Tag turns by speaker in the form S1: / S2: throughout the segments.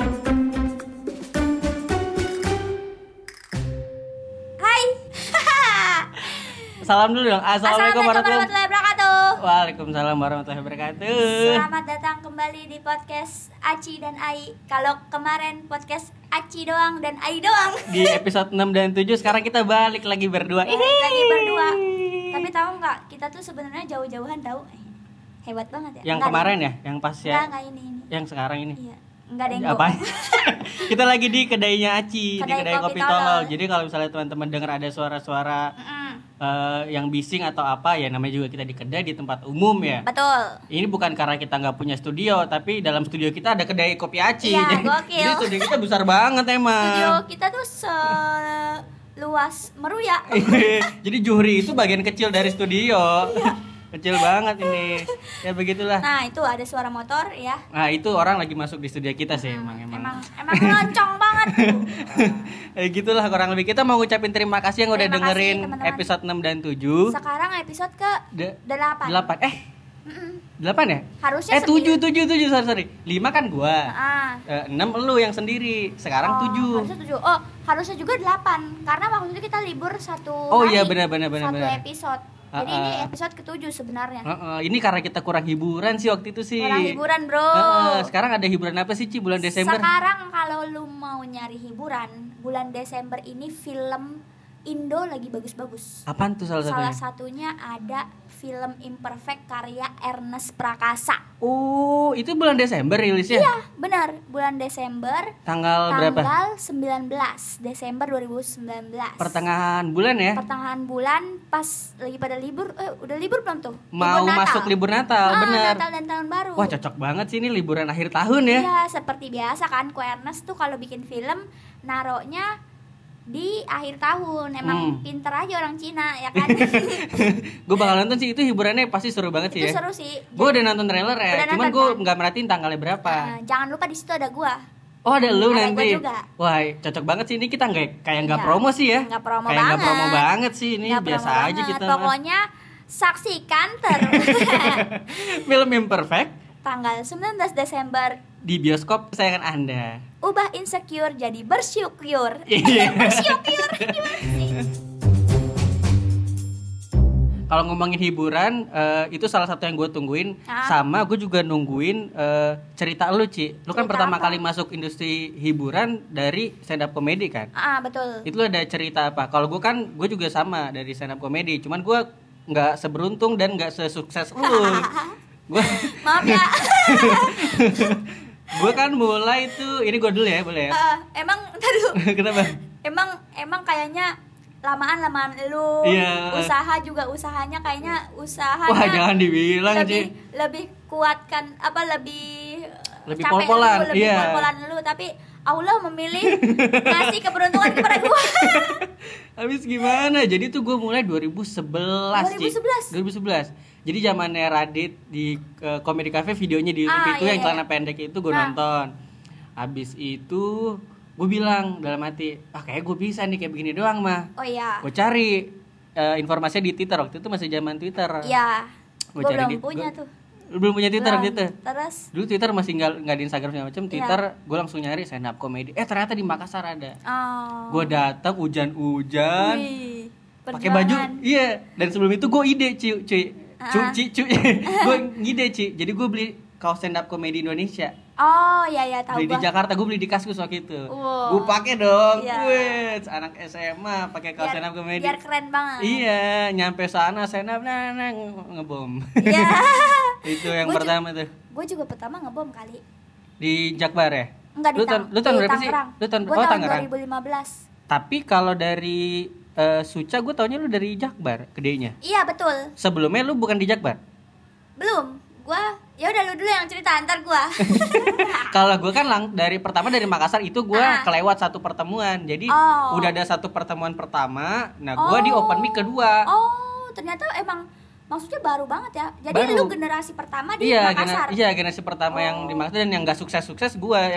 S1: salam dulu dong. Assalamualaikum warahmatullahi Eh.
S2: warahmatullahi wabarakatuh.
S1: Waalaikumsalam warahmatullahi wabarakatuh.
S2: Selamat datang kembali di podcast Aci dan Ai. Kalau kemarin podcast Aci doang dan Ai doang.
S1: Di episode 6 dan 7 sekarang kita balik lagi berdua.
S2: Balik lagi berdua. Tapi tahu nggak kita tuh sebenarnya jauh-jauhan tahu. Eh, Hebat banget ya.
S1: Yang kemarin ya, yang pas
S2: Enggak,
S1: ya.
S2: enggak ini ini.
S1: Yang sekarang ini.
S2: Iya. Enggak ada yang
S1: Apa? kita lagi di kedainya Aci, di
S2: Kedai
S1: kedai
S2: Kopi
S1: kopi
S2: Tolol.
S1: tolol. Jadi kalau misalnya teman-teman dengar ada suara-suara
S2: Mm-mm.
S1: eh, yang bising atau apa ya namanya juga kita di kedai di tempat umum ya.
S2: Betul.
S1: Ini bukan karena kita nggak punya studio, tapi dalam studio kita ada kedai kopi aci.
S2: Iya,
S1: Jadi-
S2: gokil.
S1: Jadi studio kita besar banget
S2: Studio
S1: emang.
S2: kita tuh seluas meruya.
S1: Iya. Jadi Juhri itu bagian kecil dari studio. kecil banget ini. Ya begitulah.
S2: Iya. Nah, itu ada suara motor ya.
S1: Nah, itu orang lagi masuk di studio kita sih emang emang.
S2: Emang emang loncong banget tuh.
S1: Ya gitulah kurang lebih. Kita mau ngucapin terima kasih yang udah
S2: Terima kasih,
S1: dengerin
S2: teman-teman.
S1: episode 6 dan 7.
S2: Sekarang episode ke
S1: De-
S2: 8.
S1: 8. Eh, 8 ya?
S2: Harusnya
S1: Eh, 7
S2: sembilan.
S1: 7 7 sorry, sorry. 5 kan gua.
S2: Ah.
S1: Eh, 6 lu yang sendiri. Sekarang
S2: Oh,
S1: 7.
S2: harusnya tujuh. Oh, harusnya juga 8 karena waktu itu kita libur satu
S1: Oh
S2: hari,
S1: iya benar benar benar
S2: satu
S1: benar.
S2: episode. Jadi
S1: Ah,
S2: ini
S1: ah.
S2: episode ketujuh sebenarnya.
S1: Heeh, ini karena kita kurang hiburan sih waktu itu sih.
S2: Orang hiburan, Bro.
S1: Heeh, Ah, sekarang ada hiburan apa sih Ci bulan Desember?
S2: Sekarang kalau lu mau nyari hiburan, bulan Desember ini film Indo lagi bagus-bagus.
S1: Apaan tuh salah satunya?
S2: Salah satunya ada film Imperfect karya Ernest Prakasa.
S1: Oh, itu bulan Desember rilisnya?
S2: Iya, benar. Bulan Desember
S1: Tanggal berapa?
S2: tanggal 19 Desember 2019.
S1: Pertengahan bulan ya?
S2: pertengahan bulan pas lagi pada libur eh udah libur belum tuh Libur
S1: Mau
S2: Natal.
S1: masuk libur Natal,
S2: Ah,
S1: bener.
S2: Natal dan tahun baru
S1: Wah, cocok banget sih ini liburan akhir tahun ya.
S2: Iya, seperti biasa kan Ko Ernest tuh kalau bikin film naroknya di akhir tahun emang
S1: Hmm. Iya.
S2: pinter aja orang Cina ya kan
S1: gue bakal nonton sih itu hiburannya pasti seru banget sih
S2: itu
S1: ya.
S2: seru sih
S1: Gue udah nonton trailer ya,
S2: Udah
S1: cuman
S2: nonton,
S1: gue
S2: kan?
S1: nggak merhatiin tanggalnya berapa.
S2: Nah, jangan lupa di situ ada gua
S1: Oh ada lu
S2: Ada
S1: nanti.
S2: gua juga.
S1: Wah cocok banget sih ini kita nggak kayak nggak
S2: Iya.
S1: promosi ya.
S2: Nggak promo
S1: kayak nggak
S2: banget.
S1: promo banget sih ini
S2: Nggak
S1: biasa
S2: promo
S1: aja
S2: banget.
S1: kita. mah.
S2: pokoknya saksikan ter
S1: Film Imperfect
S2: tanggal 19 Desember
S1: di bioskop kesayangan Anda.
S2: ubah insecure jadi bersyukur
S1: Iya.
S2: bersyukur gimana sih
S1: Kalau ngomongin hiburan eh, itu salah satu yang gue tungguin
S2: Ah.
S1: sama gue juga nungguin eh, cerita lu Ci. Lu
S2: Cerita
S1: kan pertama
S2: apa?
S1: kali masuk industri hiburan dari stand up comedy kan?
S2: ah betul
S1: Itu ada cerita apa? Kalau gue kan gue juga sama dari stand up comedy, cuman gue nggak seberuntung dan nggak sesukses lu. gue
S2: maaf ya
S1: gue kan mulai tuh ini gue dulu ya boleh ya?
S2: Eh, emang ntar dulu.
S1: Kenapa?
S2: emang emang kayaknya lamaan lamaan lu
S1: Iya.
S2: usaha juga usahanya kayaknya usahanya
S1: Wah jangan dibilang
S2: lebih
S1: Ci.
S2: lebih kuatkan apa lebih eh,
S1: Lebih
S2: capek
S1: pol-polan,
S2: lu, lebih
S1: iya.
S2: pol-polan lu tapi Allah memilih ngasih keberuntungan kepada gua
S1: Habis gimana? Jadi tuh gue mulai 2011, Ci.
S2: 2011?
S1: 2011. Jadi zamannya Radit di eh, Comedy Cafe videonya di YouTube
S2: Ah,
S1: itu
S2: iya,
S1: yang
S2: iya.
S1: celana pendek itu gue
S2: Ah.
S1: nonton. Habis itu gue bilang dalam hati, ah kayak gue bisa nih kayak begini doang mah.
S2: oh iya
S1: Gue cari eh, informasinya di Twitter waktu itu masih zaman Twitter.
S2: iya
S1: Gua
S2: gua
S1: cari
S2: belum
S1: di-
S2: punya
S1: gua-
S2: tuh
S1: Lu belum punya Twitter
S2: Belum. Iya.
S1: waktu itu?
S2: terus
S1: Dulu Twitter masih nggak nggak di Instagram segala macam. Twitter gue langsung nyari stand up comedy. Eh ternyata di Makassar ada.
S2: oh
S1: Gue datang hujan-hujan.
S2: Wih,
S1: kan pakai baju
S2: perjuangan. Ah.
S1: iya dan sebelum itu gue ide cuy cuy cuy cuy gue ngide cuy jadi gue beli kaos stand up komedi Indonesia
S2: oh iya iya tahu
S1: beli di
S2: gua
S1: Jakarta gue beli di Kaskus waktu itu
S2: Wow.
S1: gue pakai dong
S2: Iya.
S1: Wih, anak SMA pakai kaos stand up komedi
S2: biar keren banget
S1: iya nyampe sana stand up nah, nah, nge- ngebom
S2: iya
S1: itu yang
S2: Gua ju-
S1: pertama tuh
S2: gue juga pertama ngebom kali
S1: di Jakbar ya
S2: enggak di
S1: Lu tahun-
S2: Tang-
S1: lu tahun
S2: di
S1: berapa sih?
S2: Tangerang.
S1: Lu tahun-
S2: Gua
S1: oh,
S2: tahun
S1: Tangerang.
S2: 2015
S1: tapi kalau dari eh, Suca gue taunya lu dari Jakbar gedenya
S2: iya betul
S1: sebelumnya lu bukan di Jakbar
S2: belum gue ya udah lu dulu yang cerita antar gue
S1: Kalau gue kan lang dari pertama dari Makassar itu gue
S2: Ah.
S1: kelewat satu pertemuan. Jadi
S2: Oh.
S1: udah ada satu pertemuan pertama, nah gue di
S2: Oh.
S1: open mic kedua.
S2: oh ternyata emang maksudnya baru banget ya jadi
S1: Baru.
S2: lu generasi pertama di
S1: Iya,
S2: Makassar
S1: gener- iya generasi pertama yang di Makassar dan yang gak sukses-sukses gue.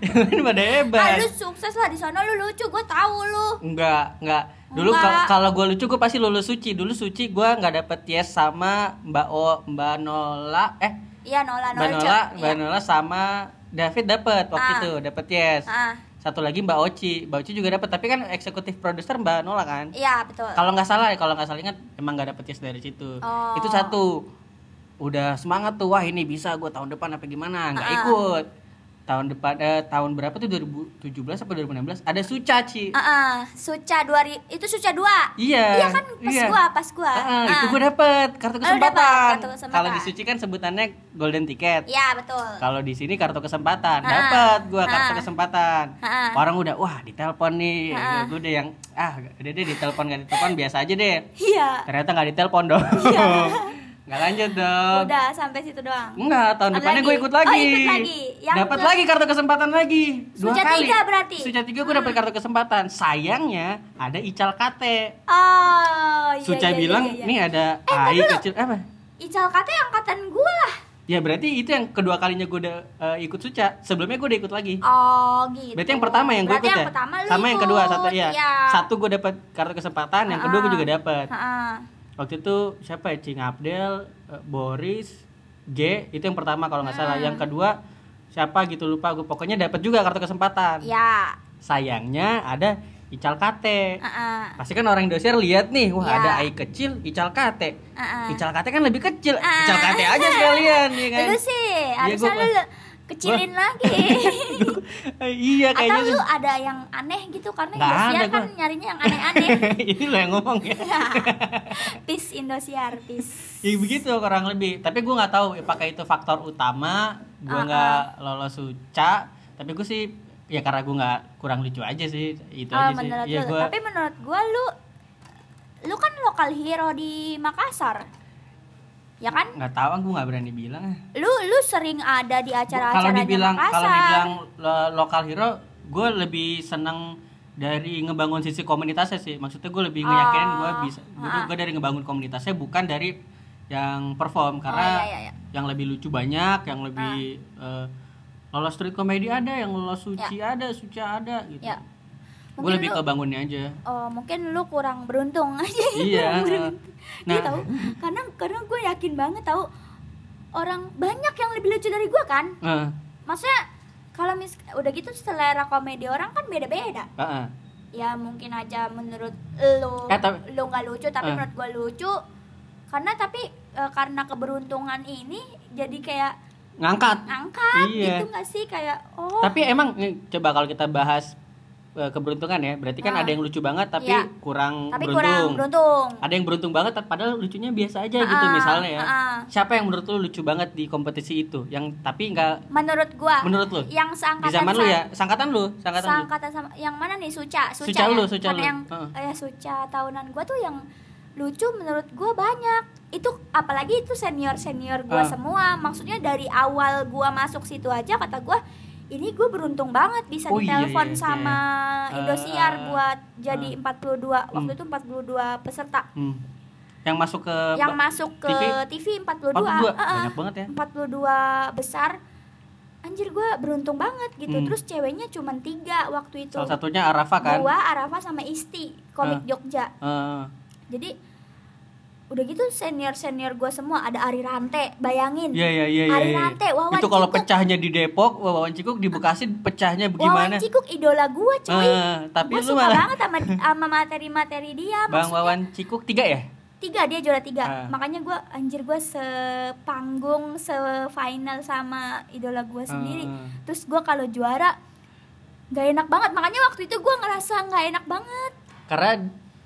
S1: Yang yang lain pada
S2: ah,
S1: hebat.
S2: lu sukses lah di sana lu lucu gue tahu lu
S1: Enggak, enggak. Dulu
S2: Enggak.
S1: kal- kalau gue lucu gue pasti lulus suci. Dulu suci gue nggak dapet yes sama Mbak O, Mbak Nola, eh
S2: iya nola
S1: Mbak
S2: nola
S1: Nola, Mbak Nola sama David dapet waktu
S2: Ah.
S1: itu dapet yes.
S2: ah
S1: satu lagi Mbak Oci Mbak Oci juga dapat tapi kan eksekutif produser Mbak Nola kan
S2: Iya betul.
S1: kalau nggak salah ya kalau nggak salah ingat emang nggak dapet yes dari situ
S2: Oh.
S1: itu satu udah semangat tuh wah ini bisa gue tahun depan apa gimana nggak
S2: Ah.
S1: ikut tahun depan eh, tahun berapa tuh 2017 apa 2016 ada Sucaci
S2: Ah, ah, Suca dua ri- itu Suca dua.
S1: iya
S2: Iya kan pas gua, pas gua.
S1: Ah, ah, itu
S2: Ah.
S1: gue dapet kartu
S2: Lu dapet
S1: kesempatan
S2: kartu kesempatan.
S1: kalau di Suci kan sebutannya golden ticket
S2: Iya betul.
S1: kalau di sini kartu kesempatan
S2: Ah.
S1: dapet gue kartu
S2: Ah.
S1: kesempatan
S2: Ah.
S1: orang udah wah ditelepon nih
S2: Ah.
S1: gue udah yang ah udah deh ditelepon nggak ditelepon biasa aja deh
S2: Iya.
S1: ternyata nggak ditelepon dong nggak lanjut dong
S2: Udah sampai situ doang.
S1: Enggak, tahun
S2: Ada
S1: depannya
S2: lagi.
S1: gue ikut lagi.
S2: Oh, ikut lagi. Yang
S1: dapat
S2: ke-
S1: lagi kartu kesempatan lagi. Dua
S2: Suca
S1: kali.
S2: tiga berarti? Ah.
S1: Suca tiga gue dapat kartu kesempatan. Sayangnya ada Ical Kate.
S2: Oh iya.
S1: Suca
S2: iya, iya,
S1: bilang,
S2: iya, iya.
S1: nih ada
S2: Eh, ntar
S1: AI
S2: dulu.
S1: kecil apa?
S2: Ical kata angkatan gua lah.
S1: Ya berarti itu yang kedua kalinya gue udah eh, ikut Suca. Sebelumnya gue udah ikut lagi.
S2: Oh gitu.
S1: Berarti yang pertama yang gue
S2: Berarti
S1: ikut
S2: yang
S1: ya.
S2: pertama lu
S1: Sama yang kedua
S2: ikut,
S1: satu ya.
S2: iya.
S1: Satu gue dapat kartu kesempatan, yang kedua gue
S2: Ah.
S1: juga dapat.
S2: Ah, ah.
S1: waktu itu siapa ya Cing Abdel eh, Boris G itu yang pertama kalau nggak salah yang kedua siapa gitu lupa gue pokoknya dapat juga kartu kesempatan
S2: Ya.
S1: sayangnya ada Ical Kate
S2: Ah, ah.
S1: pasti kan orang Indosiar lihat nih wah
S2: Ya.
S1: ada AI kecil Ical Kate
S2: Ah, ah.
S1: Ical Kate kan lebih kecil
S2: Ah.
S1: Ical Kate aja sekalian ya kan
S2: Lu sih harusnya
S1: gua-
S2: lu kecilin lagi.
S1: Eh, iya
S2: Atau
S1: kayaknya
S2: lu
S1: sih.
S2: ada yang aneh gitu karena
S1: Nggak
S2: Indosiar
S1: ada
S2: kan
S1: gua.
S2: nyarinya yang aneh-aneh.
S1: ini lo yang ngomong ya
S2: Peace Indosiar, peace.
S1: Ya begitu kurang lebih. Tapi gue nggak tahu apakah itu faktor utama gue
S2: Ah,
S1: nggak lolos suca. Tapi gue sih ya karena gue nggak kurang lucu aja sih itu
S2: Ah,
S1: aja sih.
S2: menurut
S1: Iya
S2: lu,
S1: gue
S2: tapi menurut gua lu lu kan lokal hero di Makassar. Ya kan?
S1: nggak tahu, gue nggak berani bilang. ah.
S2: Lu lu sering ada di
S1: Kalau
S2: acara-acara
S1: dibilang
S2: Makassar.
S1: kalau dibilang lo- lokal hero, gue lebih seneng dari ngebangun sisi komunitasnya sih. Maksudnya gue lebih ngeyakinin gue
S2: Oh,
S1: bisa. Gue dari ngebangun komunitasnya bukan dari yang perform
S2: Oh, iya,
S1: karena
S2: iya, iya.
S1: yang lebih lucu banyak, yang lebih
S2: Ah.
S1: eh, lolos street comedy ada, yang lolos suci ada, suci ada gitu.
S2: Ya. Mungkin
S1: Gue lebih
S2: lu-
S1: ke bangunnya aja.
S2: Oh, mungkin lu kurang beruntung aja.
S1: iya.
S2: Kurang beruntung. Iya
S1: Nah,
S2: tahu, karena karena gue yakin banget tahu orang banyak yang lebih lucu dari gue kan.
S1: eh,
S2: Maksudnya kalau mis udah gitu selera komedi orang kan beda-beda.
S1: eh, eh.
S2: Ya mungkin aja menurut lo
S1: Eh, tapi-
S2: lo nggak lucu tapi
S1: Eh.
S2: menurut gue lucu. Karena tapi eh, karena keberuntungan ini jadi kayak
S1: ngangkat.
S2: ngangkat
S1: Iya.
S2: gitu nggak sih kayak oh
S1: Tapi emang nih, coba kalau kita bahas eh, keberuntungan ya, berarti kan
S2: Ah.
S1: ada yang lucu banget tapi
S2: Iya.
S1: kurang
S2: tapi
S1: beruntung.
S2: kurang beruntung.
S1: Ada yang beruntung banget tapi padahal lucunya biasa aja gitu
S2: Ah,
S1: misalnya ya.
S2: ah.
S1: Siapa yang menurut lu lucu banget di kompetisi itu? Yang tapi nggak
S2: Menurut gua
S1: menurut lu?
S2: yang
S1: Di
S2: seangkatan
S1: zaman lu
S2: sa-
S1: ya, sangkatan lu, sangkatan lu.
S2: seangkatan sama yang mana nih Suca Suca,
S1: Suca
S2: ya?
S1: lu, Suca
S2: Karena
S1: lu.
S2: yang
S1: Heeh.
S2: eh, ya, Suca tahunan gua tuh yang lucu menurut gua banyak itu apalagi itu senior senior gua
S1: Ah.
S2: semua maksudnya dari awal gua masuk situ aja kata gua ini gue beruntung banget bisa
S1: Oh, iya,
S2: ditelepon
S1: iya, iya.
S2: sama
S1: Eh,
S2: Indosiar buat jadi
S1: eh.
S2: 42 waktu
S1: Hmm.
S2: itu 42 peserta
S1: Hmm. Yang masuk ke
S2: yang masuk ke TV, 42
S1: 42.
S2: Heeh.
S1: Banyak banget ya.
S2: 42 besar anjir gue beruntung banget gitu
S1: Hmm.
S2: terus ceweknya cuman tiga waktu itu
S1: Salah satunya Arafa kan. Ah.
S2: gua Arafa sama Isti komik Jogja
S1: Eh,
S2: jadi udah gitu senior senior gue semua ada Ari Rante bayangin
S1: Iya iya iya iya,
S2: Ari
S1: iya.
S2: Rante Wawan
S1: Itu kalau
S2: Cikuk.
S1: pecahnya di Depok, Wawan Cikuk di Bekasi pecahnya
S2: Wawan
S1: bagaimana?
S2: Cikuk idola gue cuy
S1: Eh, tapi
S2: gue
S1: lu
S2: suka
S1: malah
S2: banget sama sama materi-materi dia
S1: Bang
S2: maksudnya
S1: Wawan Cikuk tiga ya?
S2: tiga dia juara tiga
S1: Ah.
S2: makanya gue anjir gue sepanggung sefinal sama idola gue sendiri
S1: Ah.
S2: terus gue kalau juara nggak enak banget makanya waktu itu gue ngerasa nggak enak banget
S1: Karena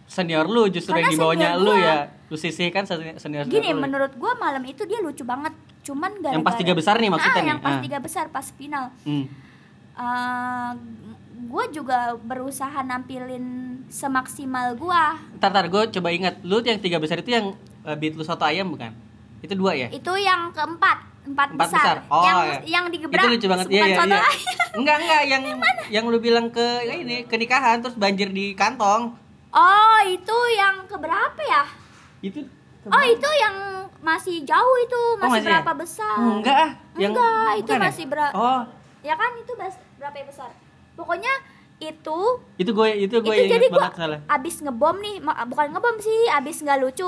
S1: senior lu justru
S2: Karena
S1: yang dibawanya
S2: senior
S1: lu
S2: gua.
S1: ya. Lu sisihkan senior senior
S2: gini
S1: lu.
S2: menurut gue malam itu dia lucu banget cuman gara-gara
S1: Yang pas tiga besar nih maksudnya
S2: Ah,
S1: nih.
S2: yang pas
S1: Ah.
S2: tiga besar pas final
S1: Hmm.
S2: gue juga berusaha nampilin semaksimal gue
S1: Ntar, ntar gue coba ingat. Lu yang tiga besar itu yang eh, beat lu soto ayam bukan? Itu dua ya?
S2: itu yang keempat empat,
S1: Empat besar. Oh,
S2: yang
S1: iya.
S2: yang digebrak
S1: itu lucu banget. Iya
S2: bukan
S1: iya
S2: soto
S1: iya.
S2: ayam.
S1: Enggak enggak yang yang lu bilang ke ya ini ke nikahan terus banjir di kantong.
S2: Oh, itu yang keberapa ya?
S1: Itu
S2: Oh, itu yang masih jauh itu,
S1: Oh,
S2: masih,
S1: masih
S2: berapa
S1: ya?
S2: besar?
S1: Enggak ah.
S2: Enggak, itu
S1: bukan ya?
S2: masih bera-
S1: Oh,
S2: Ya kan itu bas- berapa ya besar? Pokoknya itu
S1: itu gue itu gue
S2: itu
S1: ingat
S2: jadi gua
S1: banget salah.
S2: abis ngebom nih, ma- bukan ngebom sih, abis nggak lucu.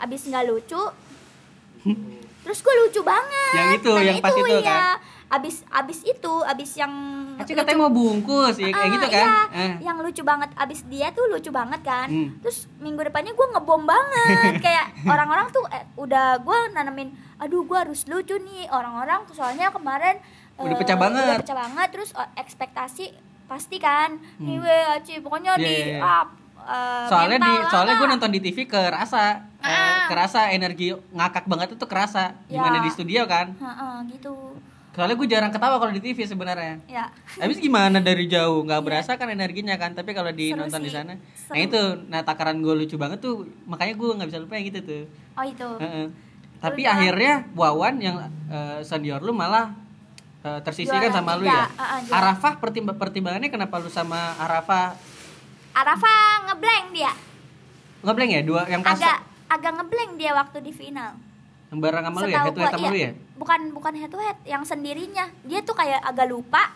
S2: Abis nggak lucu. terus gue lucu banget
S1: Yang itu,
S2: Nah,
S1: yang pas itu
S2: ya.
S1: kan?
S2: abis abis itu abis yang
S1: Aci
S2: lucu-
S1: katanya mau bungkus, ya, kayak
S2: Ah,
S1: gitu kan?
S2: iya.
S1: Eh.
S2: yang lucu banget abis dia tuh lucu banget kan
S1: Hmm.
S2: terus minggu depannya gue ngebom banget kayak orang-orang tuh eh, udah gue nanamin aduh gue harus lucu nih orang-orang soalnya kemarin
S1: Udah
S2: eh,
S1: pecah banget.
S2: udah pecah banget terus eh, ekspektasi pasti kan
S1: Hmm.
S2: nih weh Aci pokoknya
S1: Iya,
S2: di
S1: iya, iya.
S2: up eh,
S1: soalnya di
S2: mental lah,
S1: soalnya gue
S2: Kak.
S1: nonton di TV kerasa Eh,
S2: Ah.
S1: kerasa energi ngakak banget itu kerasa
S2: Ya.
S1: gimana di studio kan
S2: Heeh, gitu
S1: soalnya gue jarang ketawa kalau di TV sebenarnya
S2: ya
S1: habis gimana dari jauh nggak berasa kan energinya kan tapi kalau di
S2: Iya. Seru
S1: nonton di
S2: sih.
S1: sana
S2: Seru.
S1: nah itu nah takaran gue lucu banget tuh makanya gue nggak bisa lupa yang itu tuh
S2: oh itu
S1: Heeh. tapi
S2: Udah.
S1: akhirnya Wawan yang eh, senior lu malah eh, tersisihkan
S2: Juara
S1: sama lu
S2: tiga.
S1: ya
S2: Ah, ah, juara.
S1: Arafah pertimba- pertimbangannya kenapa lu sama Arafah
S2: Arafa ngeblank dia
S1: ngeblank ya dua yang pas
S2: agak agak ngeblank dia waktu di final
S1: yang bareng sama lu ya
S2: Setahu
S1: head to head
S2: gua,
S1: sama lu
S2: iya.
S1: ya
S2: Bukan bukan head to head, yang sendirinya. Dia tuh kayak agak lupa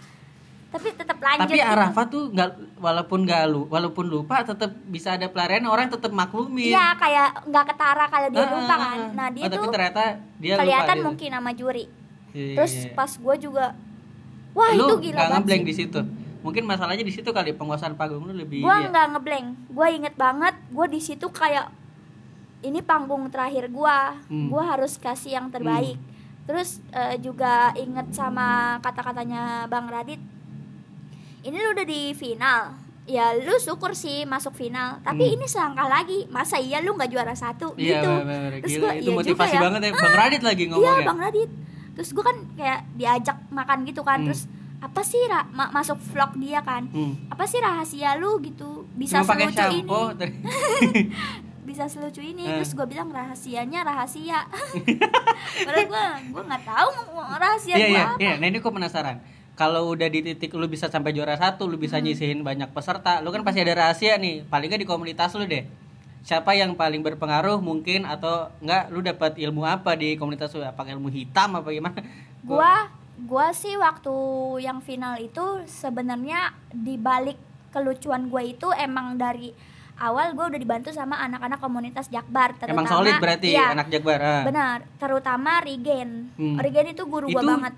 S2: tapi tetap lanjut.
S1: tapi
S2: gitu.
S1: Arafah tuh nggak walaupun nggak lu walaupun lupa tetap bisa ada pelarian orang tetap maklumin
S2: Iya, kayak nggak ketara kalau dia
S1: Ah,
S2: lupa
S1: ah,
S2: kan.
S1: ah.
S2: Nah, dia
S1: Oh, tapi
S2: tuh
S1: ternyata dia
S2: kelihatan
S1: lupa dia.
S2: mungkin sama juri.
S1: Iya, iya,
S2: Terus
S1: iya.
S2: pas gue juga Wah,
S1: lu
S2: itu gila
S1: nggak ngeblank
S2: banget.
S1: di situ mungkin masalahnya di situ kali penguasaan panggung lu lebih
S2: Gue
S1: iya.
S2: nggak ngeblank. Gue inget banget gue di situ kayak ini panggung terakhir gue.
S1: Hmm.
S2: Gue harus kasih yang terbaik. Terus eh, juga inget sama kata-katanya Bang Radit. Ini lu udah di final. Ya lu syukur sih masuk final. Tapi
S1: Hmm.
S2: ini selangkah lagi. Masa iya lu nggak juara satu
S1: iya
S2: gitu.
S1: bener, bener.
S2: Terus
S1: Gila,
S2: gua,
S1: itu
S2: iya
S1: motivasi
S2: juga ya.
S1: banget ya bang Radit lagi
S2: Iya
S1: ngomong ya
S2: Bang Radit. Terus gue kan kayak diajak makan gitu kan.
S1: Hmm.
S2: Terus apa sih Ra? Ma- masuk vlog dia kan.
S1: Hmm.
S2: Apa sih rahasia lu gitu? Bisa
S1: Cuma pakai
S2: selucu ini.
S1: shampoo ter-
S2: bisa selucu ini
S1: Eh.
S2: terus gue bilang rahasianya rahasia padahal gue gue nggak tahu mau- mau rahasia
S1: iya
S2: gue
S1: iya iya nah ini gue penasaran kalau udah di titik lu bisa sampai juara satu lu
S2: Hmm.
S1: bisa nyisihin banyak peserta lu kan pasti ada rahasia nih paling nggak di komunitas lu deh siapa yang paling berpengaruh mungkin atau enggak lu dapat ilmu apa di komunitas lu apa ilmu hitam apa gimana
S2: gue gue sih waktu yang final itu sebenarnya dibalik kelucuan gue itu emang dari awal gue udah dibantu sama anak-anak komunitas Jakbar terutama
S1: emang solid berarti
S2: iya,
S1: anak Jakbar ah.
S2: benar terutama Regen
S1: Hmm.
S2: Regen itu guru gue
S1: Itu
S2: banget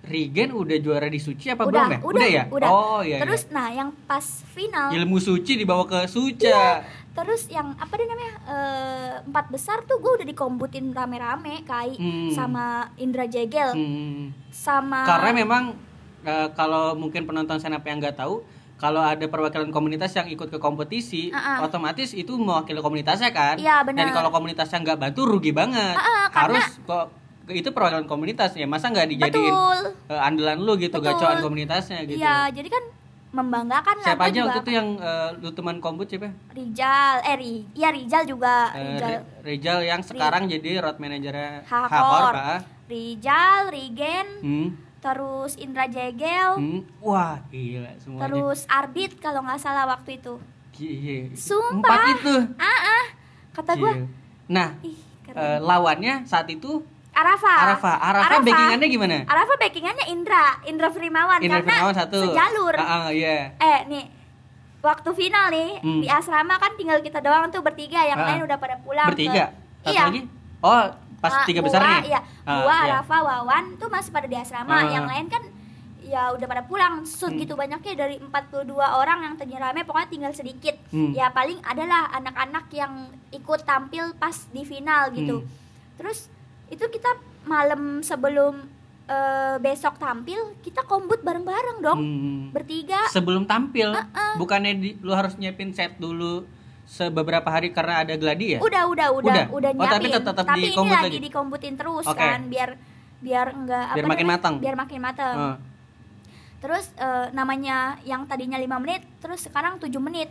S1: Regen udah juara di suci apa
S2: udah,
S1: belum ya?
S2: udah
S1: ya?
S2: udah.
S1: Oh iya.
S2: terus eh,
S1: iya.
S2: nah yang pas final
S1: ilmu suci dibawa ke suca.
S2: iya. terus yang apa dia namanya eh, empat besar tuh gue udah dikombutin rame-rame kai
S1: Hmm.
S2: sama Indra Jegel
S1: Hmm.
S2: sama
S1: Karena memang eh, kalau mungkin penonton senap yang nggak tahu, kalau ada perwakilan komunitas yang ikut ke kompetisi,
S2: Ah, ah.
S1: otomatis itu mewakili komunitasnya kan.
S2: Iya,
S1: Dan
S2: benar.
S1: kalau komunitasnya nggak bantu rugi banget.
S2: Ah, ah, karena-
S1: Harus kok itu perwakilan komunitas ya, masa nggak dijadiin
S2: betul
S1: eh, andalan lu gitu,
S2: Betul.
S1: gacoan komunitasnya gitu.
S2: iya jadi kan membanggakan lah
S1: Siapa
S2: gua
S1: aja
S2: juga.
S1: waktu itu yang eh, lu teman kombut siapa?
S2: Rijal eh Ri iya Rijal juga
S1: Eh,
S2: Rijal
S1: Re- Rizal yang sekarang jadi road manajernya
S2: Hakor.
S1: Hakor, Pak.
S2: Rijal Rigen
S1: Hmm.
S2: terus Indra Jegel
S1: hmm. Wah, gila semuanya.
S2: terus Arbit kalau nggak salah waktu itu
S1: Gila.
S2: Sumpah.
S1: Empat itu.
S2: kata gue
S1: Gila. Nah,
S2: ih keren Ah,
S1: eh, lawannya saat itu
S2: Arafa
S1: Arafa. Arafa,
S2: Arafa.
S1: backingannya gimana?
S2: Arafa backingannya Indra Indra Frimawan
S1: Indra
S2: Ah, karena
S1: Firmawan satu.
S2: sejalur
S1: Ah, ah, iya.
S2: eh nih waktu final nih
S1: Hmm.
S2: di asrama kan tinggal kita doang tuh bertiga yang
S1: Ah.
S2: lain udah pada pulang
S1: Bertiga.
S2: ke-
S1: Satu
S2: iya
S1: lagi. Oh, pas
S2: Ah,
S1: tiga
S2: gua,
S1: besarnya.
S2: iya
S1: Ah,
S2: gua
S1: iya.
S2: Rafa Wawan tuh masih pada di asrama
S1: Ah. Hmm.
S2: yang lain kan ya udah pada pulang segitu banyaknya dari 42 orang yang tadinya rame pokoknya tinggal sedikit
S1: Hmm.
S2: ya paling adalah anak-anak yang ikut tampil pas di final gitu
S1: Hmm.
S2: terus itu kita malam sebelum eh, besok tampil kita kombut bareng-bareng dong Ah,
S1: Hmm.
S2: bertiga
S1: Sebelum tampil, bukannya di- lu harus nyiapin set dulu sebeberapa hari karena ada gladi ya?
S2: udah udah udah
S1: Udah?
S2: udah,
S1: Oh, tapi
S2: nyiapin
S1: tetap- tetap
S2: ini
S1: dikombut
S2: lagi
S1: lagi?
S2: dikombutin terus
S1: Oke.
S2: kan biar biar enggak
S1: Biar makin matang.
S2: biar makin matang
S1: Ah.
S2: terus eh, namanya yang tadinya 5 menit terus sekarang 7 menit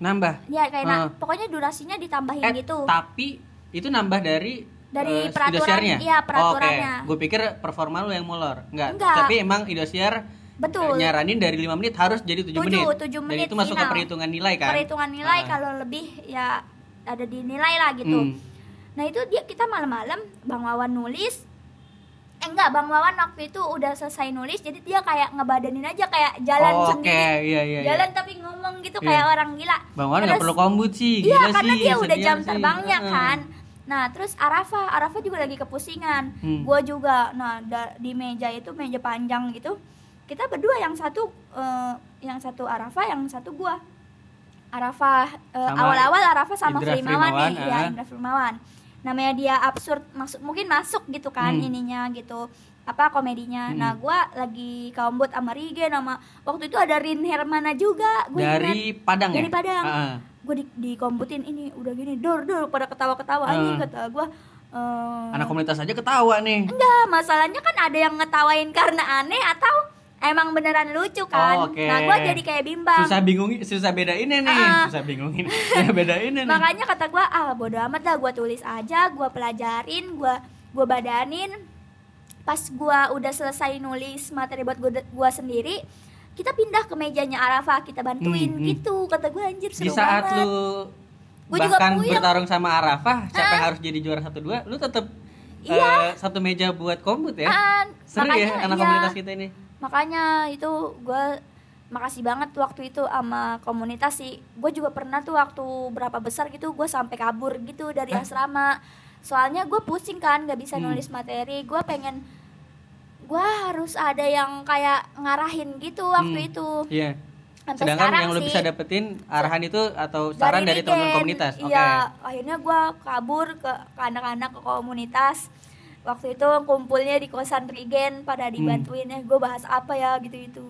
S1: Nambah.
S2: ya kayak na-
S1: Ah.
S2: pokoknya durasinya ditambahin
S1: Eh,
S2: gitu
S1: tapi itu nambah dari
S2: Dari
S1: eh,
S2: peraturan,
S1: Indosiarnya?
S2: iya, peraturannya.
S1: Oke, gue pikir performa lu yang molor. Enggak.
S2: Enggak.
S1: Tapi emang Indosiar
S2: betul
S1: eh, nyaranin dari 5 menit harus jadi 7
S2: Tujuh,
S1: menit.
S2: tujuh
S1: Dan
S2: menit
S1: itu masuk
S2: final.
S1: ke perhitungan nilai kan?
S2: perhitungan nilai
S1: Ah.
S2: kalau lebih ya ada dinilai lah gitu
S1: Hmm.
S2: nah itu dia kita malam-malam bang Wawan nulis eh enggak bang Wawan waktu itu udah selesai nulis jadi dia kayak ngebadanin aja kayak jalan
S1: Oke,
S2: sendiri
S1: iya iya. iya.
S2: jalan tapi ngomong gitu
S1: Iya.
S2: kayak orang gila
S1: Bang Wan nggak
S2: Terus-
S1: perlu kombut sih,
S2: Iya
S1: gila
S2: karena
S1: sih,
S2: dia udah
S1: senior
S2: jam
S1: sih.
S2: terbangnya
S1: Heeh.
S2: kan. Nah, terus Arafah, Arafah juga lagi kepusingan.
S1: Hmm.
S2: Gua juga. Nah, da- di meja itu meja panjang gitu. Kita berdua yang satu eh, yang satu Arafah, yang satu gua. Arafah eh,
S1: Sama
S2: awal-awal Arafah sama
S1: Indra
S2: Firmawan
S1: Firmawan,
S2: nih, ya
S1: ah.
S2: Indra Firmawan. Namanya dia absurd, masuk mungkin masuk gitu kan
S1: Hmm.
S2: ininya gitu apa komedinya.
S1: Hmm.
S2: Nah, gua lagi kaumbut sama Rige nama waktu itu ada Rin Hermana juga. Gua ingat.
S1: dari Padang ya
S2: Dari Padang.
S1: Ah,
S2: gue di, dikomputin ini udah gini dor dor pada ketawa ketawa anjing
S1: Ah.
S2: kata gue
S1: ah.
S2: eh
S1: anak komunitas aja ketawa nih
S2: enggak masalahnya kan ada yang ngetawain karena aneh atau emang beneran lucu kan
S1: Oh, oke.
S2: nah gue jadi kayak bimbang
S1: susah bingung susah bedain nih
S2: Ah.
S1: susah bingungin susah bedain nih
S2: makanya kata gue ah bodo amat lah gue tulis aja gue pelajarin gue gue badanin pas gue udah selesai nulis materi buat gue sendiri kita pindah ke mejanya Arafah kita bantuin
S1: Hmm, hmm.
S2: gitu kata gue anjir seru
S1: di saat
S2: banget
S1: lu
S2: Gua juga Ah.
S1: bahkan
S2: puyeng.
S1: bertarung sama Arafah siapa yang harus jadi juara satu dua lu tetap eh, satu meja buat kombut ya
S2: Kan,
S1: seru ya
S2: Iya. makanya,
S1: anak
S2: iya.
S1: komunitas kita ini
S2: makanya itu gue makasih banget waktu itu sama komunitas sih gue juga pernah tuh waktu berapa besar gitu gue sampai kabur gitu dari asrama soalnya gue pusing kan gak bisa
S1: Eh? Hmm.
S2: nulis materi gue pengen gue harus ada yang kayak ngarahin gitu waktu
S1: Hmm.
S2: itu
S1: iya
S2: sampai
S1: sedangkan
S2: sekarang
S1: yang lu
S2: sih
S1: bisa dapetin arahan itu atau saran dari, teman
S2: Rigen.
S1: komunitas oke
S2: iya akhirnya gue kabur ke ke anak-anak ke komunitas waktu itu kumpulnya di kosan Rigen
S1: Hmm.
S2: pada dibantuin eh gue bahas apa ya gitu itu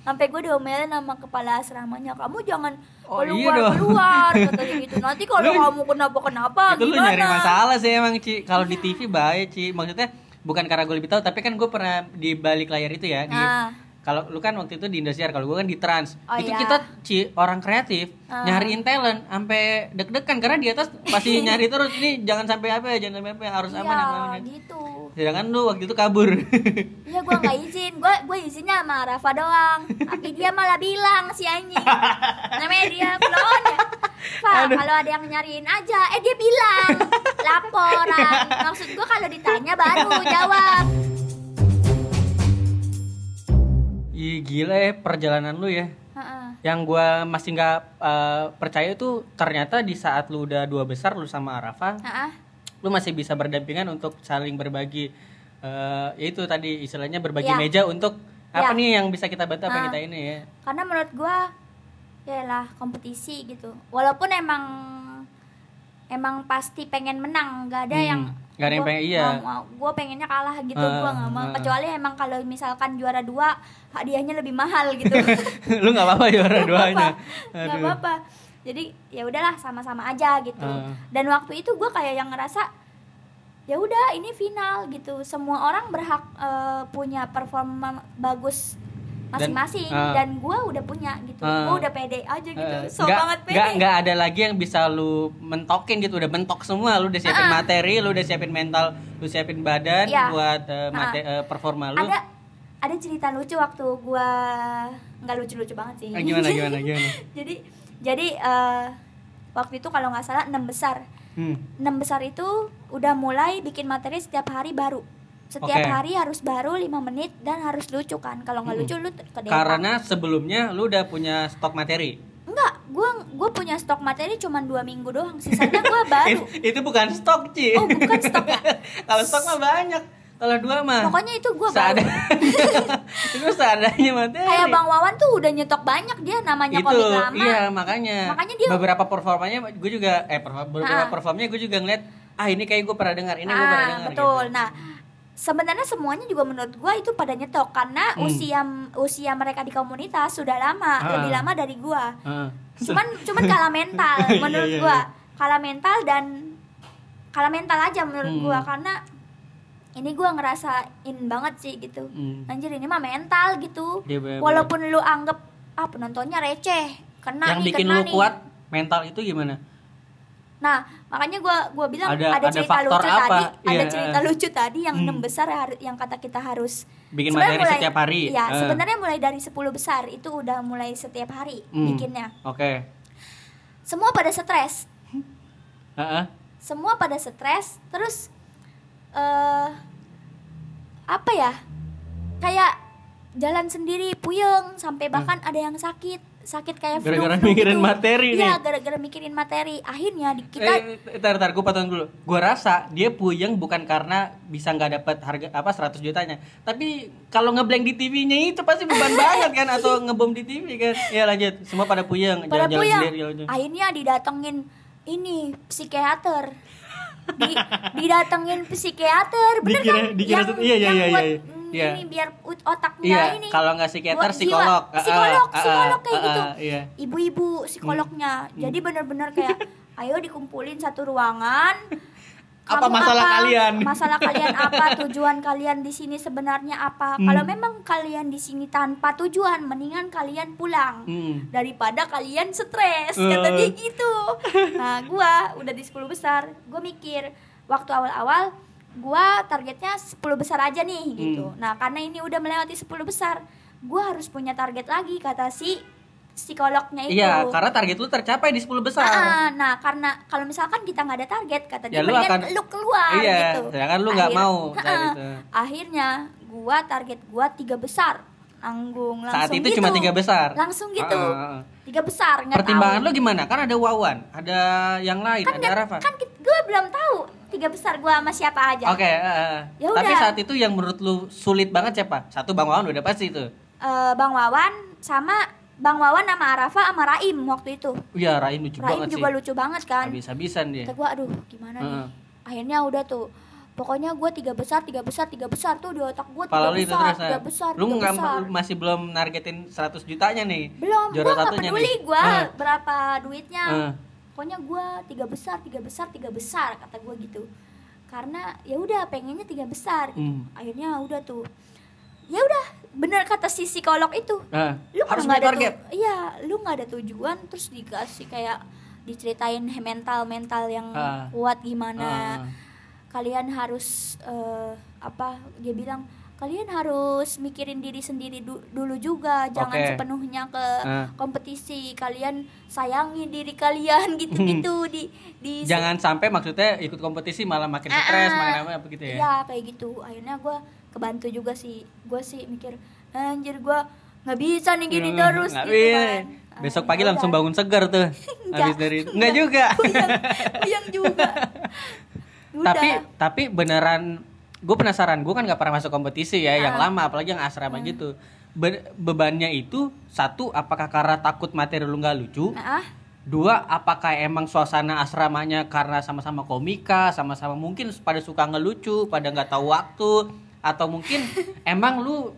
S2: sampai gue diomelin sama kepala asramanya kamu jangan
S1: Oh,
S2: keluar
S1: iya dong.
S2: keluar katanya gitu nanti kalau
S1: Lu-
S2: kamu kenapa kenapa
S1: itu Gitu, lu
S2: gimana
S1: nyari masalah sih emang Ci kalau di TV baik Ci maksudnya bukan karena gue lebih tahu tapi kan gue pernah di balik layar itu ya di
S2: Nah.
S1: kalau lu kan waktu itu di Indosiar kalau gue kan di Trans
S2: Oh,
S1: itu
S2: iya.
S1: kita Ci orang kreatif
S2: Ah.
S1: nyariin talent sampai deg-degan karena di atas pasti nyari terus ini jangan sampai apa ya jangan sampai apa ya, harus aman
S2: Iya,
S1: aman, aman.
S2: gitu
S1: sedangkan lu waktu itu kabur
S2: Iya gue nggak izin, gue gue izinnya sama Rafa doang. Tapi dia malah bilang si anjing. Namanya dia klon ya. Pak, kalau ada yang nyariin aja, eh dia bilang laporan. Maksud gue kalau ditanya baru jawab.
S1: Ih gila ya perjalanan lu ya
S2: Heeh.
S1: yang gua masih nggak eh, percaya itu ternyata di saat lu udah dua besar lu sama Arafa
S2: Heeh.
S1: lu masih bisa berdampingan untuk saling berbagi eh yaitu tadi istilahnya berbagi
S2: Ya.
S1: meja untuk apa
S2: Ya.
S1: nih yang bisa kita bantu apa yang
S2: Ah.
S1: kita ini ya
S2: Karena menurut gue ya lah kompetisi gitu. Walaupun emang emang pasti pengen menang, nggak ada
S1: Hmm,
S2: yang
S1: nggak ada yang pengen iya
S2: gue pengennya kalah gitu
S1: Ah,
S2: gua nggak mau
S1: ah.
S2: kecuali emang kalau misalkan juara dua hadiahnya lebih mahal gitu
S1: lu nggak apa-apa juara duanya
S2: nggak apa-apa jadi ya udahlah sama-sama aja gitu
S1: Ah.
S2: dan waktu itu gue kayak yang ngerasa ya udah ini final gitu semua orang berhak eh, punya performa bagus
S1: Dan-
S2: masing-masing
S1: ah.
S2: dan, gua gue udah punya gitu
S1: Ah.
S2: gue udah pede aja gitu
S1: Eh,
S2: so
S1: nggak-
S2: banget pede
S1: nggak nggak ada lagi yang bisa lu mentokin gitu udah mentok semua lu udah siapin materi lu udah siapin mental lu siapin
S2: Ah,
S1: badan
S2: Iya.
S1: buat eh, mate- eh, performa lu
S2: ada ada cerita lucu waktu gua nggak lucu-lucu banget sih
S1: Eh, gimana gimana gimana
S2: jadi jadi eh, waktu itu kalau nggak salah enam besar
S1: hmm.
S2: enam besar itu udah mulai bikin materi setiap hari baru setiap
S1: Oke.
S2: hari harus baru 5 menit dan harus lucu kan kalau nggak lucu lu kedepan
S1: Hmm. karena sebelumnya lu udah punya stok materi
S2: enggak gue gue punya stok materi cuma dua minggu doang sisanya gue baru
S1: It- itu bukan stok Ci
S2: oh bukan stok ya
S1: kalau stok mah banyak kalau dua mah
S2: pokoknya itu gue baru
S1: seadanya itu seadanya materi
S2: kayak bang Wawan tuh udah nyetok banyak dia namanya
S1: itu
S2: komik lama
S1: iya makanya
S2: Makanya dia-
S1: beberapa performanya gue juga eh perfor-
S2: Ah.
S1: beberapa performanya gue juga ngeliat ah ini kayak gue pernah dengar ini gue
S2: Ah,
S1: pernah dengar
S2: betul.
S1: gitu.
S2: Nah, sebenarnya semuanya juga menurut gua itu pada nyetok karena
S1: Hmm.
S2: usia usia mereka di komunitas sudah lama,
S1: Ah.
S2: lebih lama dari gua.
S1: Heeh.
S2: Cuman cuman kalah mental
S1: Iya,
S2: menurut
S1: iya,
S2: gua.
S1: iya.
S2: Kalah mental dan kalah mental aja menurut
S1: Hmm.
S2: gua karena ini gua ngerasain banget sih gitu.
S1: Hmm.
S2: Anjir ini mah mental gitu.
S1: Iya, bener-bener.
S2: Walaupun lu anggap ah penontonnya receh, kena
S1: yang
S2: nih,
S1: bikin
S2: Nah, kena
S1: lu
S2: nih.
S1: kuat mental itu gimana
S2: Nah, makanya gua gua bilang ada,
S1: Ada- ada
S2: cerita
S1: faktor
S2: lucu
S1: apa?
S2: tadi, ada
S1: Iya.
S2: cerita lucu tadi yang
S1: Hmm.
S2: enam besar har- yang kata kita harus
S1: bikin
S2: Sebenarnya
S1: materi
S2: mulai-
S1: setiap hari
S2: Iya,
S1: Eh,
S2: sebenarnya mulai dari 10 besar itu udah mulai setiap hari
S1: Hmm.
S2: bikinnya.
S1: oke
S2: Semua pada stres.
S1: Heeh.
S2: Semua pada stres, terus eh apa ya? Kayak jalan sendiri puyeng sampai bahkan ada yang sakit sakit kayak flu
S1: Hmm. Gara-gara mikirin materi nih.
S2: Iya, gara-gara mikirin materi. Akhirnya di- kita
S1: Eh, tar tar gue potong dulu. Gua rasa dia puyeng bukan karena bisa nggak dapat harga apa 100 jutanya. Tapi kalau ngeblank di TV-nya itu pasti beban banget kan atau ngebom di TV kan. Ya lanjut. Semua pada puyeng,
S2: pada
S1: jalan-jalan
S2: puyeng.
S1: sendiri jalan-jalan.
S2: Akhirnya didatengin ini psikiater. Di, didatengin psikiater, bener
S1: Dikira-
S2: kan?
S1: dikira
S2: yang,
S1: tuh- iya, iya,
S2: yang
S1: iya,
S2: buat,
S1: iya.
S2: mm,
S1: Iya.
S2: ini biar ut- otaknya
S1: Iya,
S2: ini.
S1: kalau nggak psikiater
S2: buat jiwa.
S1: psikolog. Ah, ah,
S2: Psikolog,
S1: ah, ah,
S2: psikolog kayak
S1: ah, ah,
S2: gitu.
S1: Iya. Hmm.
S2: Ibu-ibu psikolognya. Jadi bener-bener kayak ayo dikumpulin satu ruangan.
S1: Apa
S2: Kamu
S1: masalah kalian?
S2: Masalah kalian apa? Tujuan kalian di sini sebenarnya apa?
S1: Hmm.
S2: Kalau memang kalian di sini tanpa tujuan, mendingan kalian pulang
S1: Hmm.
S2: daripada kalian stres
S1: Eh.
S2: kata dia gitu nah gua udah di 10 besar gua mikir waktu awal-awal gua targetnya 10 besar aja nih gitu
S1: Hmm.
S2: nah karena ini udah melewati 10 besar gua harus punya target lagi kata si psikolognya Nah, itu
S1: Iya, karena target lu tercapai di 10 besar.
S2: Ah, nah karena kalau misalkan kita nggak ada target kata dia
S1: Ya, lu
S2: mendingan
S1: akan-
S2: lu keluar
S1: iya,
S2: gitu
S1: sedangkan lu nggak
S2: Akhir-
S1: mau gitu.
S2: Ha-ha.
S1: saat itu.
S2: akhirnya gua target gua tiga besar nanggung langsung
S1: Saat itu
S2: gitu.
S1: cuma tiga besar.
S2: langsung gitu
S1: Ah, ah, ah.
S2: tiga besar nggak
S1: Pertimbangan
S2: tahu.
S1: lu gimana? Kan ada Wawan, ada yang lain,
S2: kan
S1: ada Rafa.
S2: kan gue belum tahu tiga besar gue sama siapa aja
S1: Oke, eh,
S2: Ya
S1: tapi
S2: udah.
S1: saat itu yang menurut lu sulit banget siapa? Satu Bang Wawan udah pasti itu.
S2: Eh, bang Wawan sama bang Wawan sama Arafa sama Raim waktu itu
S1: Iya, Raim lucu
S2: Raim juga
S1: banget sih. Ah,
S2: lucu banget kan
S1: Habis-habisan dia.
S2: kata gue aduh gimana nih
S1: Heeh.
S2: akhirnya udah tuh pokoknya gue tiga besar tiga besar tiga besar tuh di otak gue tiga
S1: Pala lu itu
S2: besar
S1: terus.
S2: tiga
S1: nah.
S2: besar
S1: lu
S2: tiga
S1: nggak
S2: besar
S1: lu masih belum nargetin 100 jutanya nih.
S2: belum gue
S1: juara
S2: nggak
S1: satunya
S2: peduli
S1: nih. Ah.
S2: gue
S1: Heeh.
S2: berapa duitnya
S1: Heeh.
S2: pokoknya gue tiga besar tiga besar tiga besar kata gue gitu karena ya udah pengennya tiga besar
S1: Hmm.
S2: akhirnya udah tuh ya udah bener kata si psikolog itu
S1: Nah,
S2: lu harus
S1: harus punya
S2: nggak ada
S1: target.
S2: tu- iya lu nggak ada tujuan terus dikasih kayak diceritain mental mental yang
S1: Ah.
S2: kuat gimana
S1: Ah.
S2: kalian harus eh, apa dia bilang kalian harus mikirin diri sendiri du- dulu juga jangan
S1: Oke.
S2: sepenuhnya ke
S1: Ah.
S2: kompetisi kalian sayangi diri kalian gitu-gitu di di
S1: Hmm. Jangan sampai maksudnya ikut kompetisi malah makin
S2: Ah,
S1: stres,
S2: ah.
S1: makin apa apa gitu ya.
S2: Iya kayak gitu. Akhirnya gue kebantu juga sih. Gue sih mikir anjir gue nggak bisa nih gini
S1: Hmm,
S2: terus.
S1: nggak
S2: gitu
S1: bisa.
S2: kan.
S1: Besok
S2: Ah,
S1: pagi
S2: ya
S1: langsung
S2: udah.
S1: bangun segar tuh. Habis dari enggak juga.
S2: Puyeng, puyeng juga. Udah.
S1: tapi tapi beneran gue penasaran gue kan nggak pernah masuk kompetisi ya yang
S2: Ah.
S1: lama apalagi yang
S2: Hmm.
S1: asrama gitu Be- bebannya itu satu apakah karena takut materi lu nggak lucu
S2: Nah, ah,
S1: dua apakah emang suasana asramanya karena sama-sama komika sama-sama mungkin pada suka ngelucu pada nggak tahu waktu atau mungkin emang lu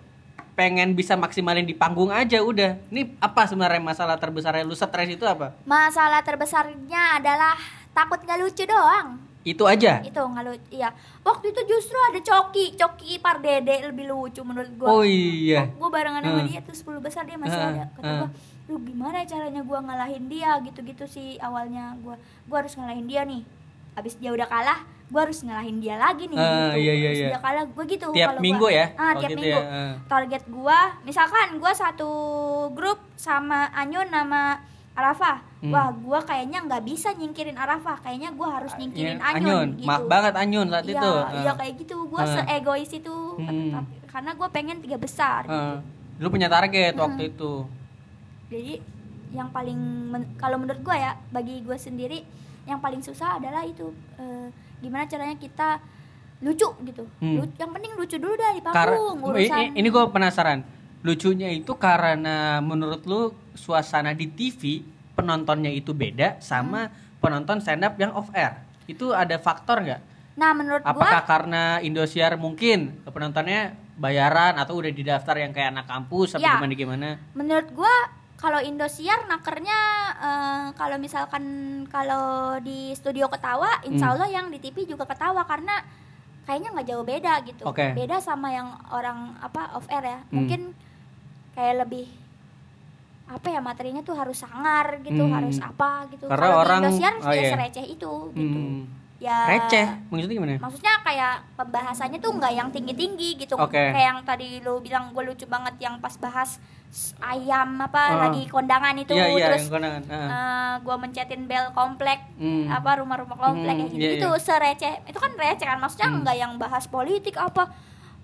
S1: pengen bisa maksimalin di panggung aja udah ini apa sebenarnya masalah terbesarnya lu stres itu apa
S2: masalah terbesarnya adalah takut nggak lucu doang.
S1: itu aja
S2: Itu nggak lucu. Iya. Waktu itu justru ada Coki, Coki Pardede lebih lucu menurut gue.
S1: oh iya
S2: gue barengan sama
S1: Hmm.
S2: dia tuh 10 besar dia masih
S1: Hmm,
S2: ada kata
S1: hmm.
S2: gue lu gimana caranya gue ngalahin dia gitu-gitu sih awalnya gue gue harus ngalahin dia nih abis dia udah kalah gue harus ngalahin dia lagi nih
S1: Ah,
S2: gitu
S1: iya, iya,
S2: Abis
S1: iya.
S2: dia kalah gue gitu
S1: tiap
S2: kalau
S1: minggu
S2: gua.
S1: ya
S2: ah,
S1: Oh,
S2: tiap
S1: gitu
S2: minggu
S1: ya. Ah.
S2: target gue misalkan gue satu grup sama Anyun sama Arafah
S1: Hmm.
S2: wah gue kayaknya nggak bisa nyingkirin Arafah kayaknya gue harus nyingkirin
S1: Iya,
S2: Anyun, gitu
S1: mak banget anyun saat
S2: Iya,
S1: itu
S2: iya
S1: Heeh.
S2: kayak gitu. Gue
S1: Ah.
S2: seegois itu
S1: Hmm. Ah.
S2: Tapi- karena gue pengen tiga besar.
S1: Heeh. lu punya target
S2: Hmm.
S1: waktu itu
S2: Jadi yang paling men- kalau menurut gue ya bagi gue sendiri yang paling susah adalah itu eh, gimana caranya kita lucu gitu.
S1: Hmm.
S2: Lu- yang penting lucu dulu dah di
S1: Kar-
S2: panggung urusan.
S1: ini, ini gue penasaran lucunya itu karena menurut lu suasana di TV penontonnya itu beda sama
S2: Hmm.
S1: penonton stand up yang off air itu ada faktor nggak
S2: Nah menurut gue
S1: apakah karena Indosiar mungkin penontonnya bayaran atau udah didaftar yang kayak anak kampus apa
S2: Iya.
S1: gimana gimana
S2: menurut gua kalau Indosiar nakernya eh, kalau misalkan kalau di studio ketawa insya
S1: Hmm.
S2: Allah yang di TV juga ketawa karena kayaknya nggak jauh beda gitu
S1: Oke.
S2: beda sama yang orang apa off air ya
S1: Hmm.
S2: mungkin kayak lebih apa ya materinya tuh harus sangar gitu
S1: Hmm.
S2: harus apa gitu
S1: Karena
S2: kalau
S1: orang-
S2: di Indosiar
S1: oh
S2: ya
S1: iya.
S2: sereceh itu gitu
S1: Hmm.
S2: ya
S1: receh maksudnya gimana
S2: maksudnya kayak pembahasannya tuh nggak yang tinggi-tinggi gitu
S1: Oke.
S2: kayak yang tadi lu bilang gue lucu banget yang pas bahas s- ayam apa
S1: Ah.
S2: lagi kondangan itu
S1: iya iya
S2: terus
S1: yang kondangan Heeh.
S2: gue mencetin bel komplek
S1: Hmm.
S2: apa rumah-rumah komplek
S1: Hmm,
S2: kayak gitu
S1: iya,
S2: itu sereceh itu kan receh kan maksudnya
S1: Hmm.
S2: nggak yang bahas politik apa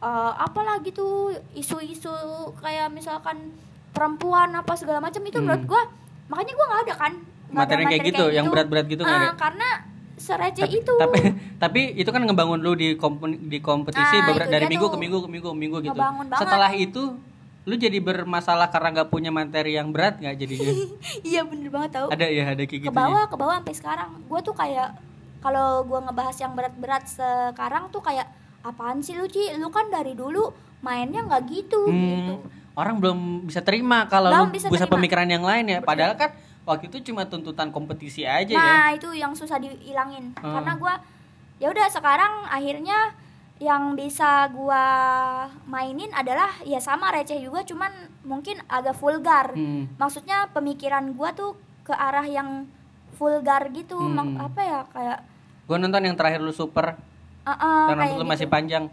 S2: eh, apalagi tuh isu-isu kayak misalkan perempuan apa segala macam itu
S1: Hmm.
S2: menurut gua makanya gua nggak ada kan Nggak ada
S1: Materi kayak gitu, yang berat-berat gitu nggak
S2: Ah,
S1: ada?
S2: karena sereceh
S1: tapi,
S2: Ya itu
S1: tapi tapi itu kan ngebangun lu di kompen- di kompetisi
S2: Nah,
S1: beberapa
S2: itu
S1: dari
S2: dia
S1: minggu
S2: tuh.
S1: ke minggu ke minggu ke minggu gitu
S2: Ngebangun banget.
S1: setelah itu lu jadi bermasalah karena nggak punya materi yang berat nggak jadinya
S2: iya bener banget tau
S1: ada ya ada
S2: ke
S1: kayak gitu
S2: bawah ke bawah sampai sekarang gua tuh kayak kalau gua ngebahas yang berat-berat sekarang tuh kayak apaan sih lu Ci lu kan dari dulu mainnya nggak gitu
S1: Hmm,
S2: gitu
S1: orang belum bisa terima kalau lu
S2: Belum bisa
S1: bisa,
S2: terima.
S1: pemikiran yang lain ya padahal kan waktu itu cuma tuntutan kompetisi aja ya
S2: Nah, itu yang susah dihilangin.
S1: Hmm.
S2: Karena gua ya udah sekarang akhirnya yang bisa gua mainin adalah ya sama receh juga cuman mungkin agak vulgar.
S1: Hmm.
S2: Maksudnya pemikiran gua tuh ke arah yang vulgar gitu. Mak-
S1: Hmm.
S2: apa ya kayak
S1: Gua nonton yang terakhir lu super
S2: eh, eh,
S1: dan
S2: kayak
S1: rambut lu
S2: gitu.
S1: masih panjang.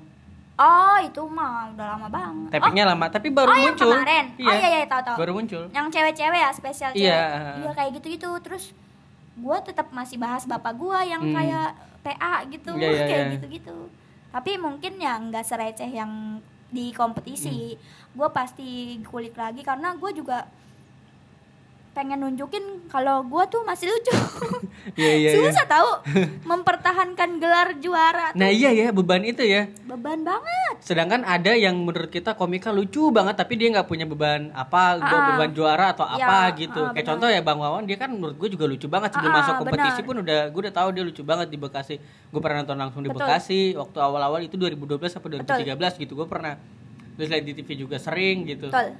S2: Oh, itu mah udah lama banget.
S1: Tapingnya lama, tapi
S2: oh,
S1: baru
S2: oh, yang
S1: muncul.
S2: kemarin.
S1: Iya,
S2: Oh iya iya tahu tahu.
S1: baru muncul.
S2: yang cewek-cewek ya spesial cewek
S1: Iya.
S2: Iya, kayak gitu-gitu terus gua tetap masih bahas bapak gua yang
S1: Hmm.
S2: kayak PA gitu
S1: Iya, iya,
S2: kayak
S1: iya.
S2: gitu-gitu tapi mungkin ya nggak sereceh yang di
S1: Hmm.
S2: kompetisi gua pasti kulik lagi karena gua juga pengen nunjukin kalau gua tuh masih lucu
S1: Iya iya. iya.
S2: susah tahu mempertahankan gelar juara tuh
S1: Nah iya ya beban itu ya.
S2: beban banget
S1: Sedangkan ada yang menurut kita komika lucu banget tapi dia nggak punya beban apa be-
S2: Ah.
S1: beban juara atau
S2: Ya,
S1: apa gitu.
S2: ah,
S1: Kayak
S2: benar.
S1: contoh ya Bang Wawan dia kan menurut gue juga lucu banget sebelum
S2: Ah,
S1: masuk kompetisi
S2: benar.
S1: pun udah gue udah tahu dia lucu banget di Bekasi. Gue pernah nonton langsung di
S2: Betul.
S1: Bekasi waktu awal-awal itu 2012 atau 2013
S2: Betul.
S1: gitu gue pernah. Terus lihat di TV juga sering gitu.
S2: betul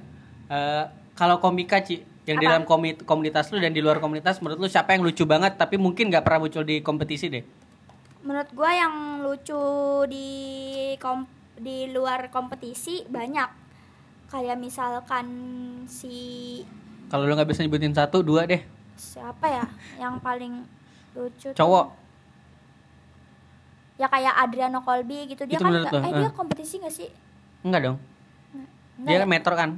S1: Eh, kalau komika Ci yang di
S2: Apa?
S1: dalam komi- komunitas lu dan di luar komunitas menurut lu siapa yang lucu banget tapi mungkin nggak pernah muncul di kompetisi deh.
S2: menurut gua yang lucu di kom- di luar kompetisi banyak kayak misalkan si
S1: Kalau lu nggak bisa nyebutin satu dua deh
S2: siapa ya yang paling lucu tuh?
S1: cowok.
S2: ya kayak Adriano Colby gitu dia
S1: Itu
S2: kan
S1: menurut
S2: nggak-
S1: lo,
S2: eh
S1: eh.
S2: dia kompetisi gak sih
S1: Enggak dong.
S2: Nggak
S1: Dia
S2: ya?
S1: kan metro kan?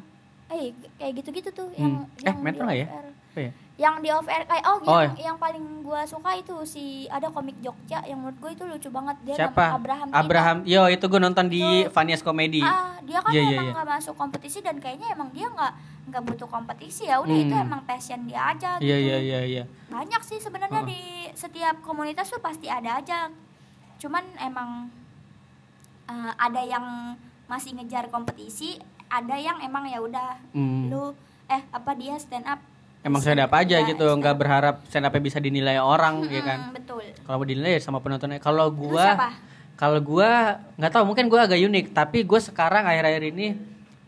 S2: eh kayak gitu-gitu tuh yang,
S1: Hmm. Eh,
S2: yang
S1: metro
S2: di
S1: nggak ya?
S2: off air.
S1: Oh, iya.
S2: yang di off air kayak oh,
S1: Oh,
S2: yang, yang paling gua suka itu si ada komik Jogja yang menurut gue itu lucu banget dia
S1: Siapa?
S2: nama Abraham Tina.
S1: Abraham. Yo, itu gue nonton di
S2: Itu-
S1: Vanias Comedy.
S2: Ah, dia kan
S1: Iya, iya,
S2: emang
S1: iya.
S2: nggak masuk kompetisi dan kayaknya emang dia nggak nggak butuh kompetisi ya udah itu
S1: Hmm.
S2: emang passion dia aja
S1: Iya,
S2: gitu.
S1: iya, iya, iya.
S2: banyak sih sebenarnya
S1: Heeh.
S2: di setiap komunitas tuh pasti ada aja cuman emang eh, ada yang masih ngejar kompetisi ada yang emang ya udah
S1: Hmm.
S2: lu eh apa dia stand up
S1: Emang stand up aja
S2: Iya,
S1: gitu,
S2: stand
S1: nggak berharap stand up bisa dinilai orang
S2: Mm-mm,
S1: ya kan.
S2: betul
S1: Kalau mau dinilai ya sama penontonnya. Kalau
S2: Lu
S1: gua
S2: siapa?
S1: kalau gua nggak tahu mungkin gua agak unik, tapi gue sekarang akhir-akhir ini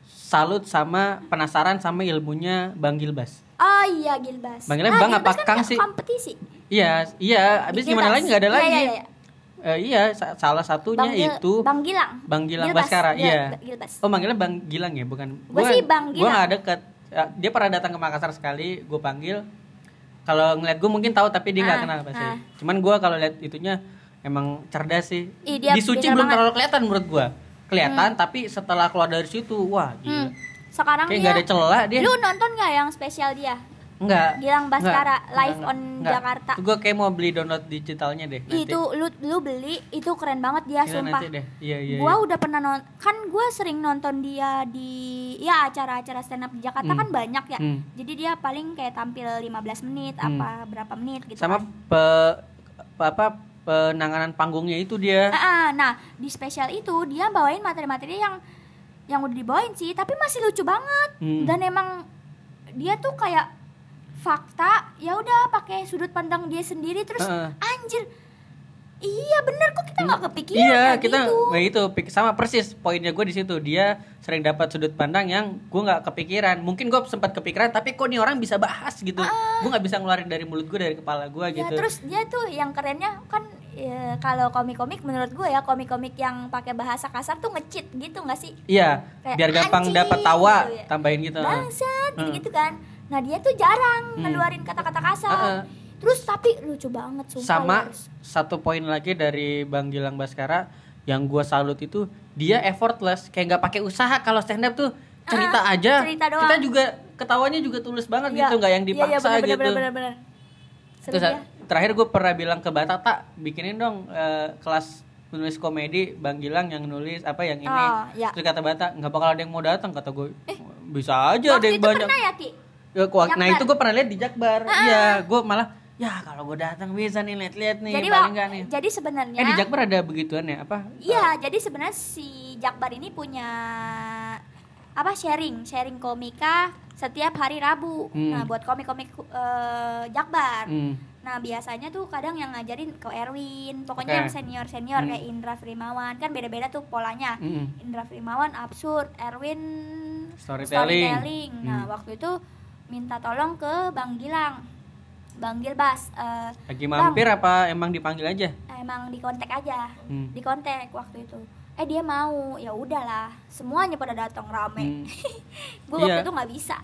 S1: salut sama penasaran sama ilmunya Bang Gilbas.
S2: oh iya Gilbas
S1: Bang Gilbas bang apa
S2: kan
S1: Kang
S2: nggak
S1: sih?
S2: kompetisi
S1: Iya, iya,
S2: Di
S1: habis
S2: Gilbas.
S1: gimana lagi nggak ada
S2: Iya,
S1: lagi.
S2: iya, iya.
S1: Eh, iya, sa- salah satunya
S2: Bang Gil-
S1: itu
S2: Bang Gilang
S1: Bang Gilang
S2: Gilbas,
S1: Baskara,
S2: Gil-
S1: iya.
S2: Gilbas
S1: Oh manggilnya Bang Gilang ya bukan?
S2: Gua sih Bang
S1: Gue
S2: Gilang.
S1: nggak deket. Ya, Dia pernah datang ke Makassar sekali, gue panggil. Kalau ngeliat gue mungkin tahu tapi dia nggak
S2: Ah,
S1: kenal pasti.
S2: ah.
S1: Cuman gue kalau lihat itunya emang cerdas sih.
S2: Ih, dia
S1: Di Suci
S2: pintar
S1: belum
S2: banget.
S1: terlalu kelihatan menurut gue. Kelihatan tapi setelah keluar dari situ, wah
S2: Hmm,
S1: gila.
S2: sekarang
S1: Iya. Kayak
S2: dia
S1: nggak ada celah dia.
S2: Lu nonton nggak yang spesial dia?
S1: Enggak.
S2: Gilang Baskara live on Jakarta.
S1: Gue kayak mau beli download digitalnya deh. Nanti.
S2: Itu lu lu beli itu keren banget dia
S1: Gila,
S2: sumpah.
S1: nanti deh. Iya iya.
S2: gua
S1: iya.
S2: udah pernah nonton kan gua sering nonton dia di ya acara-acara stand up di Jakarta
S1: Hmm.
S2: kan banyak ya.
S1: Hmm.
S2: Jadi dia paling kayak tampil 15 menit
S1: Hmm.
S2: apa berapa menit gitu.
S1: Sama
S2: kan.
S1: pe, pe- apa penanganan panggungnya itu dia.
S2: Ah, ah, nah, di spesial itu dia bawain materi-materi yang yang udah dibawain sih, tapi masih lucu banget.
S1: Hmm.
S2: Dan emang dia tuh kayak fakta, ya udah pakai sudut pandang dia sendiri terus
S1: Heeh.
S2: anjir. Iya bener kok kita nggak kepikiran
S1: Iya,
S2: kayak
S1: kita
S2: gitu.
S1: nah itu pik- sama persis poinnya gue di situ. Dia sering dapat sudut pandang yang gue nggak kepikiran. Mungkin gue sempat kepikiran, tapi kok nih orang bisa bahas gitu. Gue nggak bisa ngeluarin dari mulut gue dari kepala gue
S2: Ya,
S1: gitu.
S2: Ah. terus dia tuh yang kerennya kan ya, kalau komik-komik menurut gue ya komik-komik yang pakai bahasa kasar tuh ngecit gitu nggak sih?
S1: Iya,
S2: kayak
S1: biar gampang
S2: anjing
S1: dapat tawa,
S2: gitu ya.
S1: tambahin gitu.
S2: bangsat gitu kan nah dia tuh jarang
S1: Hmm.
S2: ngeluarin kata-kata kasar
S1: Heeh.
S2: terus tapi lucu banget sumpah
S1: Sama
S2: lu harus.
S1: satu poin lagi dari Bang Gilang Baskara yang gue salut itu dia effortless, kayak nggak pakai usaha kalau stand up tuh cerita
S2: Ah,
S1: aja.
S2: cerita doang.
S1: Kita juga ketawanya juga tulus banget
S2: Iya,
S1: gitu, nggak yang
S2: iya,
S1: dipaksa
S2: iya, bener,
S1: gitu.
S2: bener, bener, bener. Seru ya.
S1: Terus
S2: dia.
S1: terakhir gue pernah bilang ke Batak tak bikinin dong eh, kelas nulis komedi Bang Gilang yang nulis apa yang ini.
S2: Oh, ya. Eh,
S1: Terus kata Batak nggak bakal ada yang mau datang kata gue. bisa aja ada
S2: Waktu
S1: yang
S2: itu
S1: banyak
S2: pernah ya Ki?
S1: Ya, kuak- nah
S2: Jakbar.
S1: itu gue pernah lihat di Jakbar iya gue malah ya kalau gue datang bisa nih lihat-lihat nih
S2: jadi
S1: paling
S2: wak-
S1: nggak nih
S2: jadi sebenarnya
S1: eh di Jakbar ada begituan ya apa
S2: Iya, jadi sebenarnya si Jakbar ini punya apa sharing, sharing komika setiap hari Rabu.
S1: Hmm.
S2: Nah, buat komik-komik eh, Jakbar.
S1: Hmm.
S2: Nah, biasanya tuh kadang yang ngajarin ke Erwin, pokoknya
S1: Oke.
S2: yang senior-senior
S1: Hmm.
S2: kayak Indra Frimawan, kan beda-beda tuh polanya.
S1: Mm-mm.
S2: Indra Frimawan absurd, Erwin
S1: Storytelling.
S2: Nah,
S1: Hmm.
S2: waktu itu minta tolong ke Bang Gilang. Bang Gilbas eh,
S1: lagi mampir apa emang dipanggil aja
S2: emang di kontak aja
S1: Hmm.
S2: di kontak waktu itu eh dia mau ya udahlah semuanya pada datang rame
S1: Hmm.
S2: gue waktu
S1: Iya.
S2: itu nggak bisa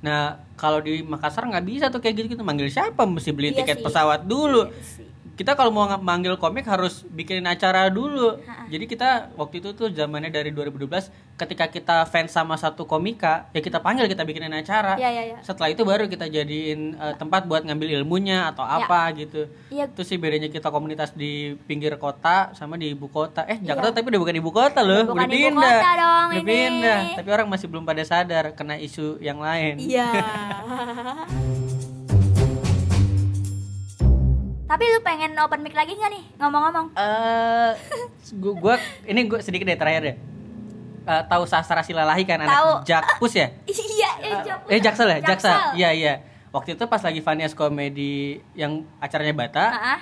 S1: nah kalau di Makassar nggak bisa tuh kayak gitu gitu manggil siapa mesti beli
S2: Iya sih.
S1: tiket pesawat dulu
S2: Iya sih.
S1: kita kalau mau nge- manggil komik harus bikinin acara dulu.
S2: Ha-ha.
S1: Jadi kita waktu itu tuh zamannya dari 2012 ketika kita fans sama satu komika, ya kita panggil kita bikinin acara.
S2: Iya, iya, iya.
S1: Setelah itu baru kita jadiin eh, tempat buat ngambil ilmunya atau
S2: Ya.
S1: apa gitu.
S2: iya
S1: Itu sih bedanya kita komunitas di pinggir kota sama di ibu kota. Eh, Jakarta tapi udah bukan ibu kota
S2: Udah Iya.
S1: loh,
S2: bukan
S1: udah
S2: ibu
S1: pindah.
S2: kota dong
S1: udah
S2: ini.
S1: pindah, tapi orang masih belum pada sadar kena isu yang lain.
S2: iya tapi lu pengen open mic lagi nggak nih ngomong-ngomong
S1: eh gua, gua ini gua sedikit deh terakhir deh. Eh, tahu sastra silalahi kan anak
S2: Tahu.
S1: Jakpus ya?
S2: iya eh, Jaksel.
S1: Eh Jaksel ya, Jaksel.
S2: Jaksel.
S1: Iya iya. Waktu itu pas lagi Vanias komedi yang acaranya Bata,
S2: Ah, ah.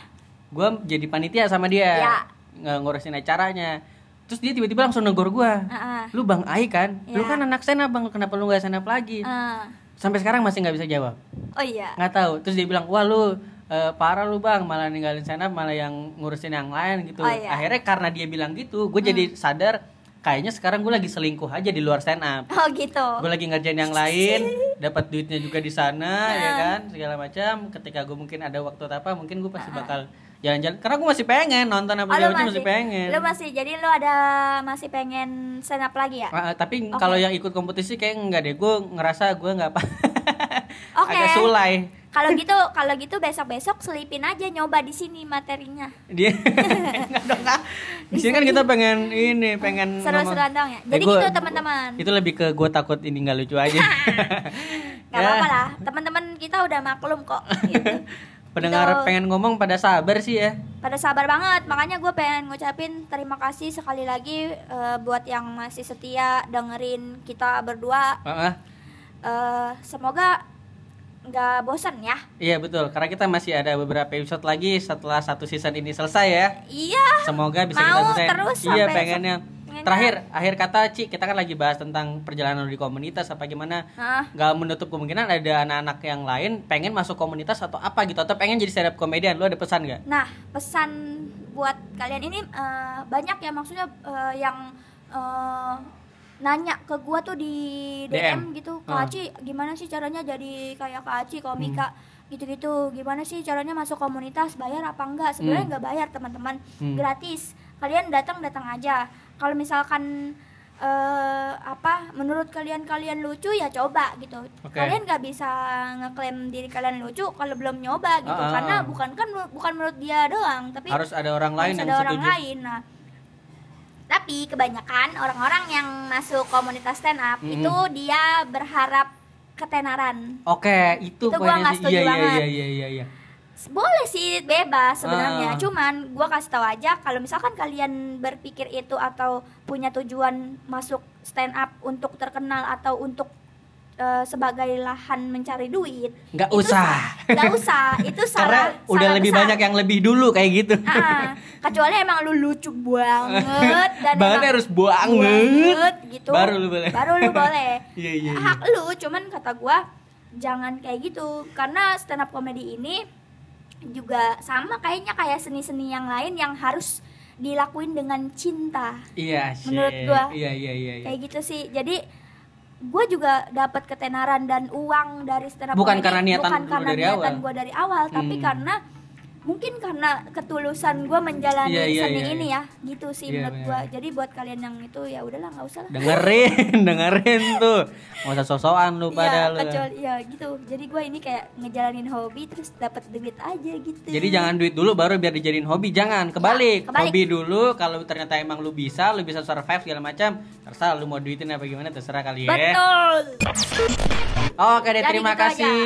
S1: gua jadi panitia sama dia.
S2: Iya.
S1: Nge- ngurusin acaranya. Terus dia tiba-tiba langsung negor gua.
S2: Ah, ah.
S1: Lu Bang Ai kan? Lu
S2: Iya.
S1: kan anak stand up, Bang. Kenapa lu nggak stand up lagi?
S2: Ah.
S1: Sampai sekarang masih nggak bisa jawab.
S2: oh iya
S1: nggak tahu terus dia bilang wah lu eh, parah lu bang malah ninggalin sana malah yang ngurusin yang lain gitu
S2: Oh, iya. Hmm.
S1: akhirnya karena dia bilang gitu gue jadi sadar kayaknya sekarang gue lagi selingkuh aja di luar stand up
S2: oh gitu
S1: gue lagi ngerjain yang lain dapat duitnya juga di sana ya
S2: Nah.
S1: kan segala macam ketika gue mungkin ada waktu atau apa mungkin gue pasti bakal jalan-jalan karena gue masih pengen nonton apa
S2: Oh, lu
S1: segala macam masih pengen
S2: lu Nah. masih jadi lu ada masih pengen stand up lagi ya
S1: Ah, ah, tapi
S2: Oke.
S1: kalau yang ikut kompetisi kayak nggak deh gue ngerasa gue nggak apa
S2: Oke.
S1: agak sulai
S2: Kalau gitu, kalau gitu besok-besok selipin aja nyoba di sini materinya.
S1: dia enggak dong Kak. di sini kan kita pengen ini pengen
S2: Seru-seruan dong ya.
S1: Eh,
S2: Jadi
S1: gua-
S2: gitu teman-teman.
S1: itu lebih ke gue takut ini nggak lucu aja Ya,
S2: Gak apa-apa lah. Teman-teman kita udah maklum kok. gitu.
S1: pendengar
S2: Itu-
S1: pengen ngomong pada sabar sih ya
S2: Pada sabar banget. Makanya gue pengen ngucapin terima kasih sekali lagi eh, buat yang masih setia dengerin kita berdua.
S1: Heeh.
S2: Eh, semoga nggak bosan ya.
S1: iya betul karena kita masih ada beberapa episode lagi setelah satu season ini selesai ya
S2: Iya.
S1: semoga
S2: Mau
S1: bisa kita selesai
S2: terus
S1: iya
S2: sampai-
S1: pengennya
S2: pengennya.
S1: terakhir akhir kata Ci kita kan lagi bahas tentang perjalanan di komunitas apa gimana
S2: Nah,
S1: nggak menutup kemungkinan ada anak-anak yang lain pengen masuk komunitas atau apa gitu atau pengen jadi stand up comedian lu ada pesan nggak
S2: Nah, pesan buat kalian ini eh, banyak ya maksudnya eh, yang eh, nanya ke gua tuh di DM, gitu, Kak
S1: Ah.
S2: Aci, gimana sih caranya jadi kayak Kak Aci komika
S1: Hmm.
S2: gitu-gitu. Gimana sih caranya masuk komunitas, bayar apa enggak? Sebenarnya
S1: Hmm.
S2: enggak bayar, teman-teman.
S1: Hmm.
S2: Gratis. Kalian datang-datang aja. Kalau misalkan eh apa menurut kalian kalian lucu ya coba gitu
S1: Oke.
S2: kalian nggak bisa ngeklaim diri kalian lucu kalau belum nyoba gitu
S1: Ah, ah,
S2: karena
S1: ah.
S2: bukan kan menur- bukan menurut dia doang tapi
S1: harus ada orang
S2: harus
S1: lain yang
S2: ada orang
S1: setuju
S2: lain nah tapi kebanyakan orang-orang yang masuk komunitas stand up
S1: Mm-mm.
S2: itu dia berharap ketenaran
S1: Oke, itu,
S2: Itu gua nggak
S1: poinnya sih.
S2: setuju
S1: Iya, iya,
S2: banget.
S1: iya, iya, iya, iya.
S2: boleh sih bebas sebenarnya
S1: Ah.
S2: cuman gua kasih tahu aja kalau misalkan kalian berpikir itu atau punya tujuan masuk stand up untuk terkenal atau untuk eh, sebagai lahan mencari duit
S1: Nggak
S2: itu
S1: usah.
S2: sa- nggak usah itu
S1: Karena
S2: salah
S1: udah
S2: salah
S1: lebih
S2: besar.
S1: banyak yang lebih dulu kayak gitu.
S2: Ah, kecuali emang lu lucu banget dan
S1: Banget
S2: emang
S1: harus banget.
S2: gitu
S1: Baru lu boleh.
S2: baru lu boleh
S1: Iya, iya, iya.
S2: hak lu cuman kata gua jangan kayak gitu karena stand up comedy ini juga sama kayaknya kayak seni-seni yang lain yang harus dilakuin dengan cinta
S1: Iya, shit.
S2: Menurut gua.
S1: Iya, iya, iya, iya.
S2: kayak gitu sih jadi gue juga dapat ketenaran dan uang dari stand up
S1: Bukan
S2: comedy.
S1: karena niatan
S2: bukan
S1: lu
S2: karena
S1: dari
S2: niatan
S1: awal.
S2: gue dari awal tapi
S1: Hmm.
S2: karena mungkin karena ketulusan gue menjalani
S1: Iya, iya,
S2: seni
S1: iya,
S2: ini
S1: iya.
S2: ya gitu sih
S1: Iya,
S2: menurut gue
S1: benar.
S2: jadi buat kalian yang itu ya udahlah nggak usah lah
S1: dengerin dengerin tuh nggak usah sosokan lu
S2: Iya,
S1: pada lu
S2: kecuali ya gitu. Jadi gue ini kayak ngejalanin hobi terus dapat duit aja gitu.
S1: jadi jangan ya. duit dulu baru biar dijadiin hobi jangan
S2: Ya,
S1: kebalik,
S2: kebalik.
S1: hobi dulu kalau ternyata emang lu bisa lu bisa survive segala macam terserah lu mau duitin apa gimana terserah kali ya
S2: Betul.
S1: oke deh
S2: Jadi gitu
S1: terima
S2: aja.
S1: kasih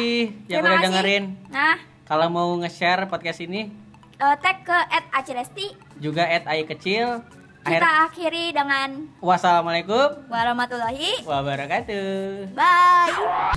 S2: Terima
S1: yang Ya, udah
S2: kasih.
S1: dengerin
S2: Nah,
S1: kalau mau nge-share podcast ini
S2: eh, tag ke @acresti.
S1: juga at ai kecil
S2: Kita
S1: akhir
S2: akhiri dengan
S1: wassalamualaikum
S2: warahmatullahi
S1: wabarakatuh
S2: bye.